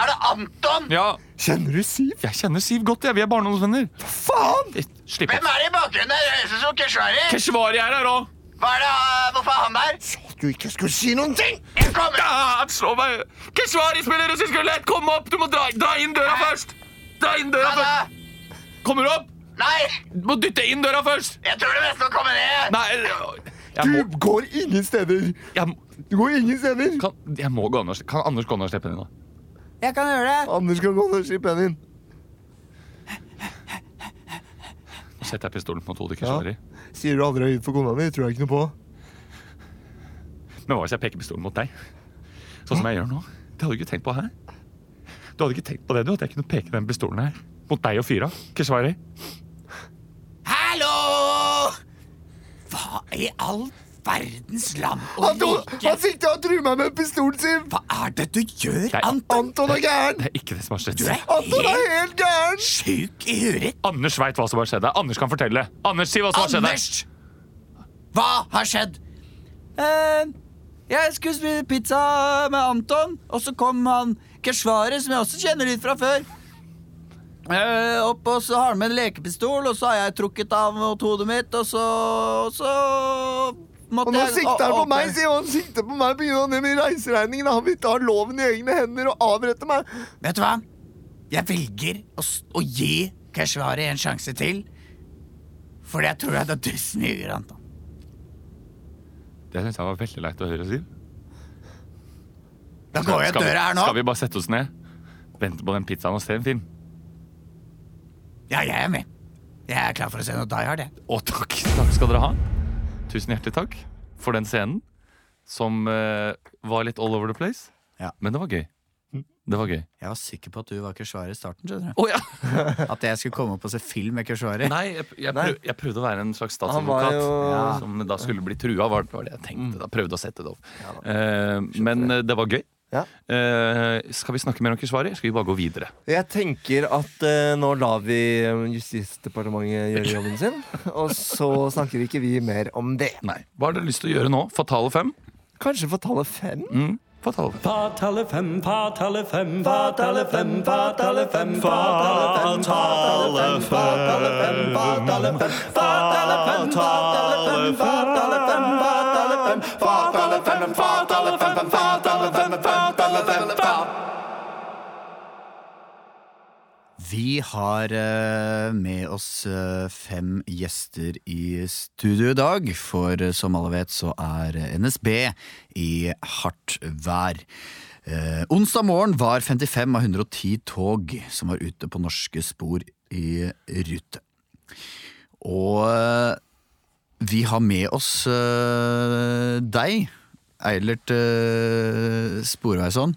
Er det Anton? Ja, Kjenner du Siv? jeg kjenner Siv godt. Jeg. Vi er barndomsvenner. Faen! Slipp Hvem opp. er det i bakgrunnen der? Det Høres ut som Keshvari. Keshvari er her òg. Hva er det, uh, hvorfor er han der? Sa du ikke skulle si noen ting? Jeg kommer! Han slår meg. Keshvari spiller russisk rulett. Kom opp! Du må dra, dra inn døra først. Dra inn døra Han først. er- Kommer du opp? Nei, Du må dytte inn døra først. jeg tror det beste er å komme ned. Nei, jeg må, Du går ingen steder. jeg må Du går ingen steder. Kan, jeg må gå Anders. Kan Anders gå ned og slippe henne inn? da? Jeg kan gjøre det. Anders kan gå ned og slippe henne inn. Nå setter jeg pistolen mot hodet Keshvari. Sier du aldri har jugd for kona di, tror jeg ikke noe på. Men hva hvis jeg peker pistolen mot deg? Sånn som jeg gjør nå? Det hadde du ikke tenkt på her. Du hadde ikke tenkt på det, du, at jeg kunne peke den pistolen her mot deg og fyra. Keshvari. Hallo! Hva i all verdens land og Han, to, rike han sitter og truer meg med pistolen sin! Hva er det du gjør, Jeg- Anton? Anton er gæren! Det er ikke det som har skjedd. Du er Anton er helt helt gæren! sjuk i huet. Anders veit hva som har skjedd deg. Anders kan fortelle. Anders, si hva som har skjedd deg. Anders! Hva har skjedd? jeg skulle spise pizza med Anton, og så kom han Keshvari, som jeg også kjenner litt fra før. Eh, opp, og så har han med en lekepistol, og så har jeg trukket av mot hodet mitt, og så Og så måtte Og nå jeg sikter han å- på åpne- eh. meg, sier han. Han sikter på meg pga. det med reiseregningen. Han vil ta loven i egne hender og avrette meg. Vet du hva? Jeg velger å, s- å gi Keshvari en sjanse til. Fordi jeg tror at det er dødsen i huet, Anton. Det syns jeg var veldig leit å høre, Siv. Da går jeg ut Skal vi- døra her nå. Skal vi bare sette oss ned, vente på den pizzaen og se en film? Ja, jeg er med. Jeg er klar for å se noe Die Hard, jeg. Å, takk, takk skal dere ha. Tusen hjertelig takk for den scenen, som eh, var litt all over the place. Ja. Mm. Men det var gøy. Det var gøy. Jeg var sikker på at du var Keshvari i starten, skjønner Å ja! du. At jeg skulle komme opp og se film med Keshvari. Nei, jeg, jeg, Nei. prøv, jeg prøvde å være en slags Han var statsadvokat jo- ja, som da skulle bli trua, var, var det jeg tenkte. Da prøvde å sette det opp. Eh, men eh, det var gøy. Ja. Eh, skal vi snakke mer om Keshvari? Skal vi bare gå videre? Jeg tenker at eh, nå lar vi eh, Justisdepartementet gjøre jobben sin, og så snakker ikke vi mer om det. Nei. Hva har dere lyst til å gjøre nå? Fatale fem? Kanskje få tallet fem? Mm, fatale fem. Fatale fem, fatale fem, fatale fem, fatale fem, fatale fem, fatale fem, fatale fem, fatale fem, fatale fem, fatale fem, fatale fem, fatale fem, fatale fem, fatale fem, fatale fem, Vi har eh, med oss eh, fem gjester i studio i dag, for eh, som alle vet så er eh, NSB i hardt vær. Eh, onsdag morgen var 55 av 110 tog som var ute på norske spor i rute. Og eh, vi har med oss eh, deg, Eilert eh, Sporveisson,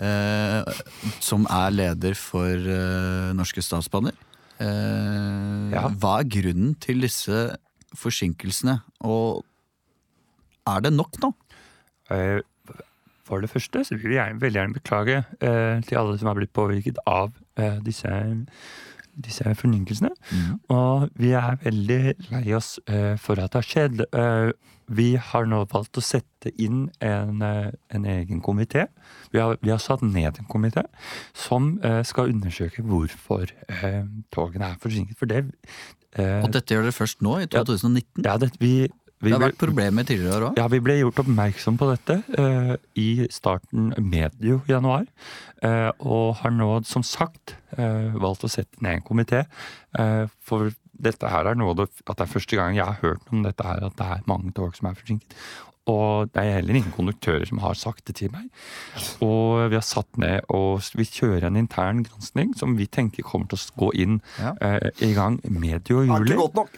eh, som er leder for eh, Norske Statsbaner. Eh, Ja. Hva er grunnen til disse forsinkelsene, og er det nok nå? Eh, For det første så vil jeg gjerne- veldig gjerne beklage eh, til alle som har blitt påvirket av eh, disse, disse fornyelsene. Og vi er veldig lei oss eh, for at det har skjedd. Eh, vi har nå valgt å sette inn en, eh, en egen komité. Vi har, vi har satt ned en komité som eh, skal undersøke hvorfor eh, togene er forsinket. For det eh, Og dette gjør dere først nå, i Ja. 2019. ja, det, vi, vi Det har ble- vært problemer tidligere i år òg. ja, vi ble gjort oppmerksom på dette eh, i starten medio januar. eh, og har nå som sagt eh, valgt å sette ned en komité. eh, for dette her er noe av det, at det er første gang jeg har hørt om dette her, at det er mange tog som er forsinket. Og det er heller ingen konduktører som har sagt det til meg. Og vi har satt ned og s- vi kjører en intern gransking som vi tenker kommer til å gå inn Ja. eh, i gang medio juli. Er ikke godt nok.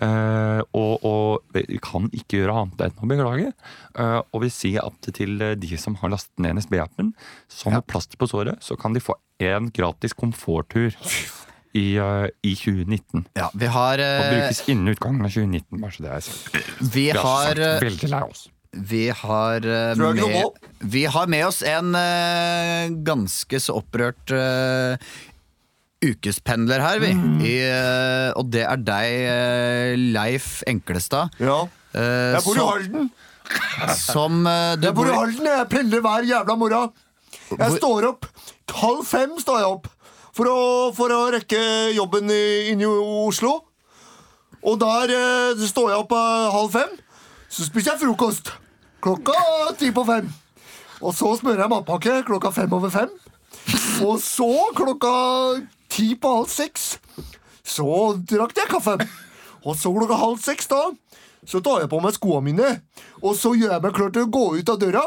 Eh, og, og vi kan ikke gjøre annet enn å beklage. Eh, og vi sier at til eh, de som har lastet ned NSB-appen, som et plaster på såret, så kan de få én gratis komforttur i, eh, i 2019. Ja, vi har, Og eh, brukes innen utgangen av 2019, bare så det er sagt. vi Vi har har eh, sagt veldig lei oss. Vi har, eh, Tror jeg ikke noe med, vi har med oss en eh, ganske så opprørt eh, ukespendler her, vi. Mm. I, eh, og det er deg, eh, Leif Enklestad. Ja. eh, Jeg bor i som- Halden. Som eh, du Jeg bor i Halden, jeg pendler hver jævla morgen. Jeg Hvor- står opp halv fem står jeg opp for å, for å rekke jobben i- inne i Oslo. Og der eh, står jeg opp eh, halv fem. Så spiser jeg frokost klokka ti på fem. Og så smører jeg matpakke klokka fem over fem. Og så klokka ti på halv seks så drakk jeg kaffe. Og så klokka halv seks da, så tar jeg på meg skoene mine, og så gjør jeg meg klar til å gå ut av døra.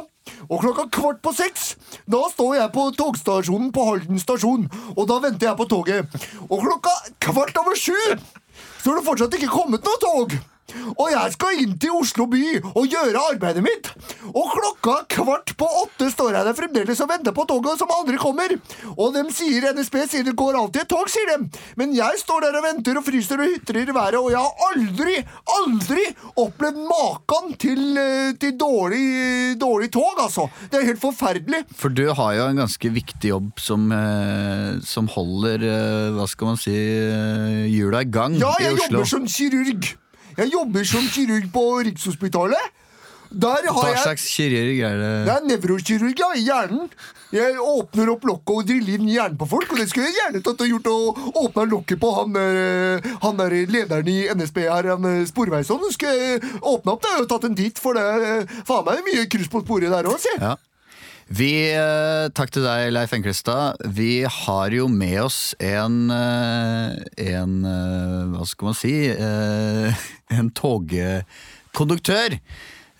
Og klokka kvart på seks, da står jeg på togstasjonen på Halden stasjon, og da venter jeg på toget. Og klokka kvart over sju, så har det fortsatt ikke kommet noe tog. Og jeg skal inn til Oslo by og gjøre arbeidet mitt. Og klokka kvart på åtte står jeg der fremdeles og venter på toget som aldri kommer. Og dem sier NSB sier det går alltid et tog, sier dem. Men jeg står der og venter og fryser og hytrer i været, og jeg har aldri, aldri opplevd maken til, eh, til dårlig, dårlig tog, altså. Det er helt forferdelig. For du har jo en ganske viktig jobb som, eh, som holder, eh, hva skal man si, eh, hjula i gang Ja, i jeg Oslo. jobber som kirurg. Jeg jobber som kirurg på Rikshospitalet. Der har Hva jeg slags kirurg er Jeg det? er nevrokirurg ja, i hjernen. Jeg åpner opp lokket og driller inn hjernen på folk. Og det skulle jeg gjerne tatt og gjort og åpna lokket på han, eh, han der lederen i NSB her, han eh, Sporveisson. Det Skulle jeg åpna opp det og tatt en titt, for det er eh, faen meg mye kryss på sporet der òg, si. Ja. Vi, eh, takk til deg, Leif Enklestad. Vi har jo med oss en eh, En eh, Hva skal man si? Eh, En togkonduktør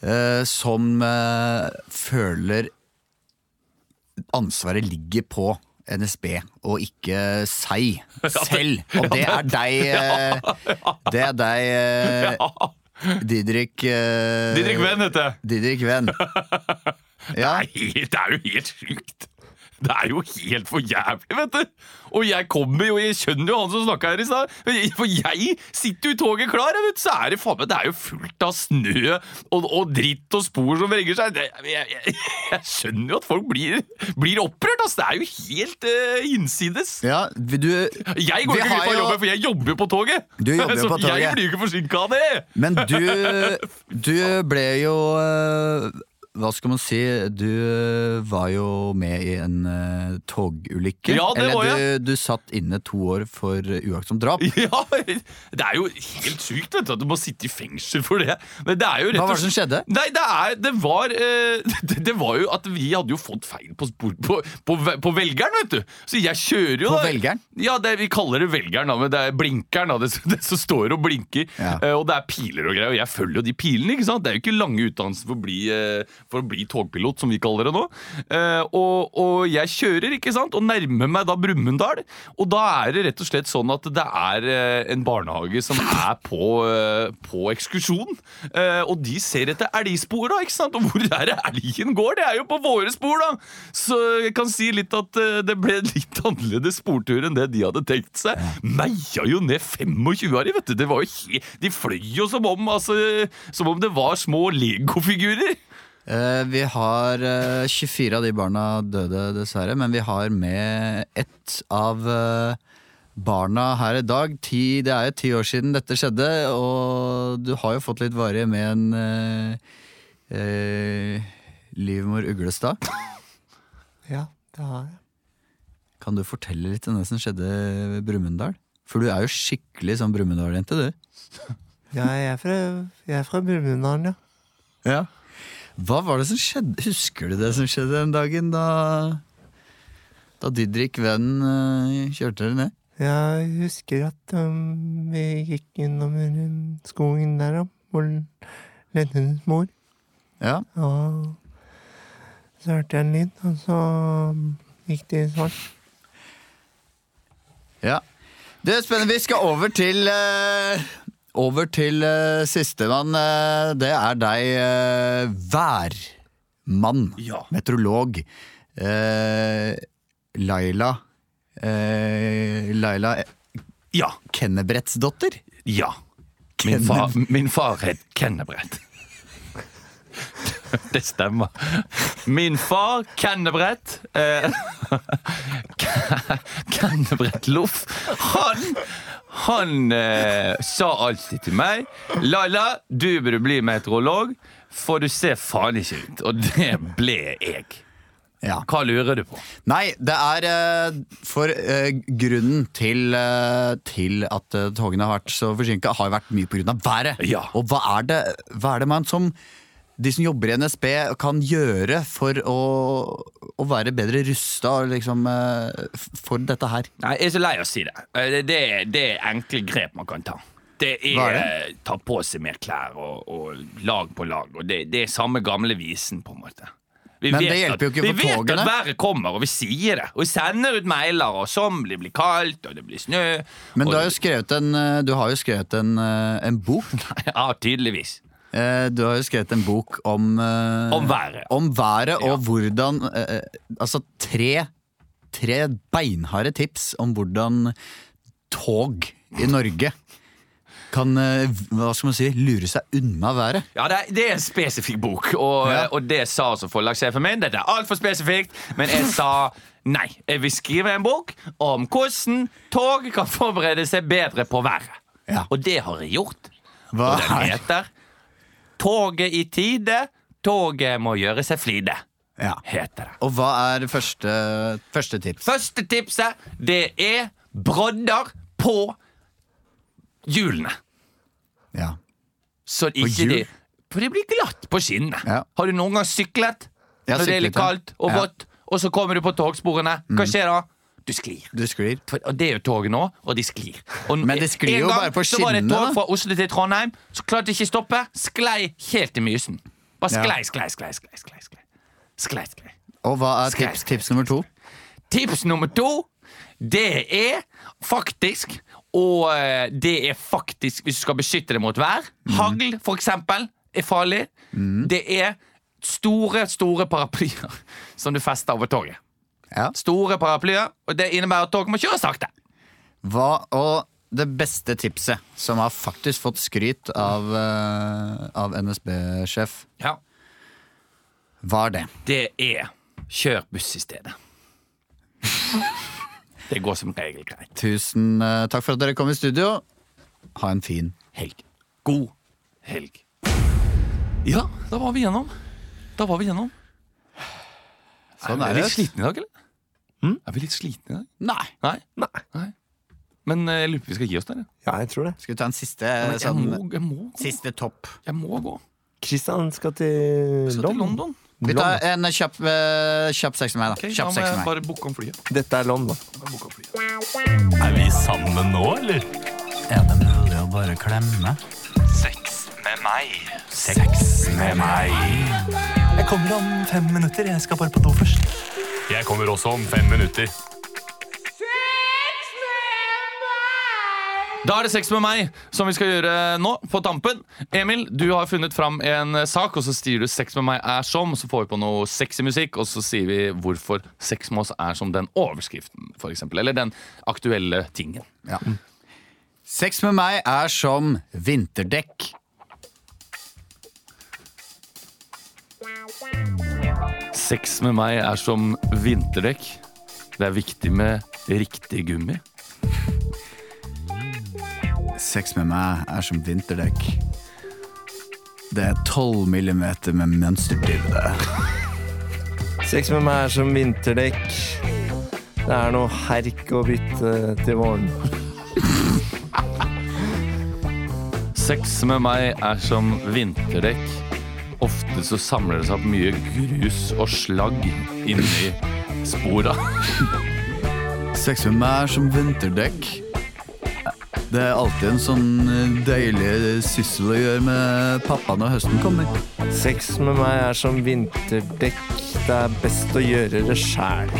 eh, som eh, føler ansvaret ligger på NSB og ikke seg selv. Og det er deg, eh, det er deg, eh, Didrik eh, Didrik Venn heter jeg. Didrik Venn. Ja. Det er helt- det er jo helt sykt. Det er jo helt for jævlig, vet du! Og jeg kommer jo, jeg skjønner jo han som snakka her i stad. For jeg sitter jo i toget klar, jeg vet du. Så er det faen meg Det er jo fullt av snø og, og dritt og spor som vrenger seg. Det, jeg, jeg, jeg skjønner jo at folk blir, blir opprørt, ass. Det er jo helt eh, innsides. Ja, vi- du, Jeg går Vi ikke har glipp av jo- jobben, for jeg jobber jo på toget! Du jobber jo Så på toget. Jeg blir jo ikke forsinka av det! men du, du ble jo eh, Hva skal man si? Du eh, var jo med i en eh, togulykke. Ja, det Eller var jeg. du, du satt inne to år for uaktsomt drap. Ja, Det er jo helt sykt vet du, at du må sitte i fengsel for det. Men det er jo rett Hva og var det som skjedde? Nei, det, er, det, var, eh, det, det var jo at vi hadde jo fått feil på, spor, på, på, ve- på velgeren, vet du. Så jeg kjører jo På da- velgeren? Ja, det, vi kaller det velgeren, da, men det er blinkeren. Da, det, som- det som står og blinker. Ja. Eh, og det er piler og greier, og jeg følger jo de pilene. ikke sant? Det er jo ikke lange utdannelser for å bli, eh, for å bli togpilot, som vi kaller det nå. Eh, og, og jeg kjører, ikke sant, og nærmer meg da Brumunddal. Og da er det rett og slett sånn at det er eh, en barnehage som er på, eh, på ekskursjon. Eh, og de ser etter elgspor, da, ikke sant? Og hvor er det elgen går? Det er jo på våre spor, da! Så jeg kan si litt at eh, det ble litt annerledes sportur enn det de hadde tenkt seg. Meia jo ned 25 av de, vet du. Det var jo he de fløy jo som om, altså, som om det var små legofigurer. Eh, vi har eh, 24 av de barna døde, dessverre, men vi har med ett av eh, barna her i dag. Ti, det er jo ti år siden dette skjedde, og du har jo fått litt varige med en eh, eh, livmor Uglestad. Ja, det har jeg. Kan du fortelle litt om det som skjedde ved Brumunddal? For du er jo skikkelig sånn Brumunddal-jente, du. Ja, jeg er fra, jeg er fra Brumunddal, ja. Ja. Hva var det som skjedde? Husker du det som skjedde den dagen da Da Didrik, vennen, eh, kjørte dere ned? Jeg husker at um, vi gikk innom den skogen der, da, hvor Lennes mor Ja. Og så hørte jeg en lyd, og så um, gikk det i svart. Ja. Det er spennende. Vi skal over til eh, Over til uh, sistemann. eh, det er deg, eh, værmann. Meteorolog. eh, Laila eh, Laila Ja. Kennebrettsdotter. Ja. Min far, min far het Kennebrett. Det stemmer. Min far, Kennebrett eh, Kennebrett Loff. Han, han eh, sa alltid til meg Laila, du burde bli meteorolog, for du ser faen ikke ut. Og det ble jeg. Ja. Hva lurer du på? Nei, det er eh, for eh, grunnen til, eh, til at eh, togene har vært så forsinka, har jo vært mye pga. været. Ja. Og hva er, det, hva er det man som de som jobber i NSB kan gjøre for å, å være bedre rusta liksom, eh, f- for dette her? Nei, jeg er så lei av å si det. Eh, Det, det, er- det er enkle grep man kan ta. Det er, Hva er eh, ta på seg mer klær og, og lag på lag. Og det, det er samme gamle visen, på en måte. Vi Men vet det hjelper jo ikke at, for Vi vet togene. at været kommer, og vi sier det. Og vi sender ut mailer, og som det blir kaldt, og det blir snø. Men og du har jo det- skrevet en, eh, du har jo skrevet en, eh, en bok. Ja, tydeligvis. Eh, Du har jo skrevet en bok om eh, Om været. Om været og hvordan eh, eh, Altså tre, tre beinharde tips om hvordan tog i Norge kan eh, hva skal man si, lure seg unna været. Ja, det er, det er en spesifikk bok, og, Ja. og det sa altså forlagssjefen min. Dette er altfor spesifikt, men jeg sa nei. Jeg vil skrive en bok om hvordan tog kan forberede seg bedre på været. Ja. Og det har jeg gjort. Hva Og den er heter 'Toget i tide Toget må gjøre seg flide, Ja. heter det. Og hva er første, første tips? Første tipset, det er brodder på hjulene. Ja. Så ikke hjul? det For det blir glatt på skinnene. Ja. Har du noen gang syklet Jeg har når det er syklet, litt ja. kaldt og Ja. Mm. vått, og så kommer du på togsporene? Hva skjer da? Du sklir. Du sklir. For- Og det er jo toget nå, og de sklir. Og n- Men de sklir en jo gang bare på Så var det et skinnene, tog da. fra Oslo til Trondheim, så klarte de ikke stoppe. Sklei helt i Mysen. Bare Ja. sklei, sklei, sklei, sklei. sklei, sklei. sklei, sklei. Og hva er Sklir, tips, sklir, tips nummer to? Tips nummer to, det er faktisk Og eh, det er faktisk hvis du skal beskytte det mot vær. Hagl, for eksempel, er farlig. Det er store, store paraplyer som du fester over toget. Ja. Store paraplyer, og det innebærer at toget må kjøre sakte. Hva, og det beste tipset, som har faktisk fått skryt av, eh, av NSB-sjef, Ja. var det. Det er kjør buss i stedet. Det går som regel greit. Tusen eh, takk for at dere kom i studio. Ha en fin Helg. God helg. Ja, da var vi gjennom. Da var vi gjennom. Sånn er er vi det. litt slitne i dag, eller? Er vi litt slitne i dag? Nei. Nei. Nei. Men eh, jeg lurer på om vi skal gi oss der. jeg. Ja, jeg tror det. Skal vi ta en siste, Men jeg, sånn, må, jeg må gå. siste topp? Jeg må gå. Kristian skal til Så til London. London. Vi tar en kjapp, eh, kjapp seks med meg, da. Ok, da kjapp må seks med jeg meg. bare booke om flyet. Dette er London. Er vi sammen nå, eller? Er det mulig å bare klemme? Sex med meg. Sex med meg. Jeg kommer om fem minutter. Jeg skal bare på do først. Jeg kommer også om fem minutter. Da er det sex med meg som vi skal gjøre nå, på tampen. Emil, du har funnet fram en eh, sak, og så sier du 'sex med meg er som', så får vi på noe sexy musikk, og så sier vi hvorfor sex med oss er som den overskriften, for eksempel. Eller den aktuelle tingen. Sex med meg er som vinterdekk. Sex med meg er som vinterdekk. Det er viktig med riktig gummi. Sex med meg er som vinterdekk. Det er 12 millimeter med mønsterdybde. Sex med meg er som vinterdekk. Det er noe herk å bytte til våren. Sex med meg er som vinterdekk. Ofte så samler det seg opp mye grus og slagg inni spora. Sex med meg er som vinterdekk. Det er alltid en sånn deilig syssel å gjøre med pappa når høsten kommer. Sex med meg er som vinterdekk. Det er best å gjøre det sjæl.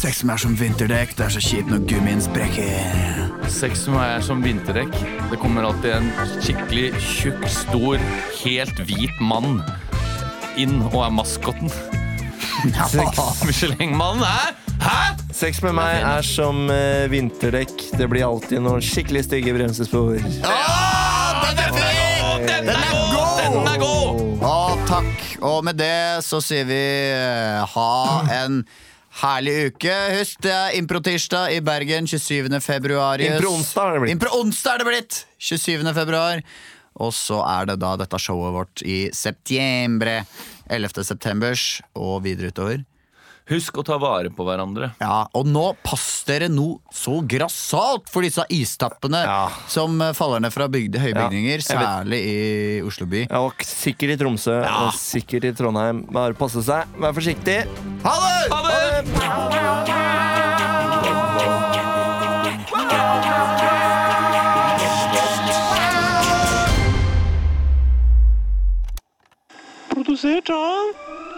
Sex med meg er som vinterdekk, det er så kjipt når gummien sprekker. Sex med meg er som vinterdekk. Det kommer alltid en skikkelig tjukk, stor, helt hvit mann inn og er maskotten. Michelin-mannen er Hæ?! Sex med meg er som eh, vinterdekk. Det blir alltid noen skikkelig stygge bremsespor. Den er god! Den er god! Og takk. Og med det så sier vi eh, ha en herlig uke. Husk det er Improtirsdag i Bergen 27. februar. Improonsdag er det blitt. Improonsdag er det blitt! 27. februar. Og så er det da dette showet vårt i septembre. 11. septembers og videre utover. Husk å ta vare på hverandre. Ja, Og nå pass dere noe så grassat for disse istappene Ja. som eh, faller ned fra bygde, høye Ja, bygninger, jeg vet. særlig i Oslo by. Ja, og sikkert i Tromsø og sikkert i Trondheim. Bare passe seg. Vær forsiktig. Ha det! Ha det! Produsert av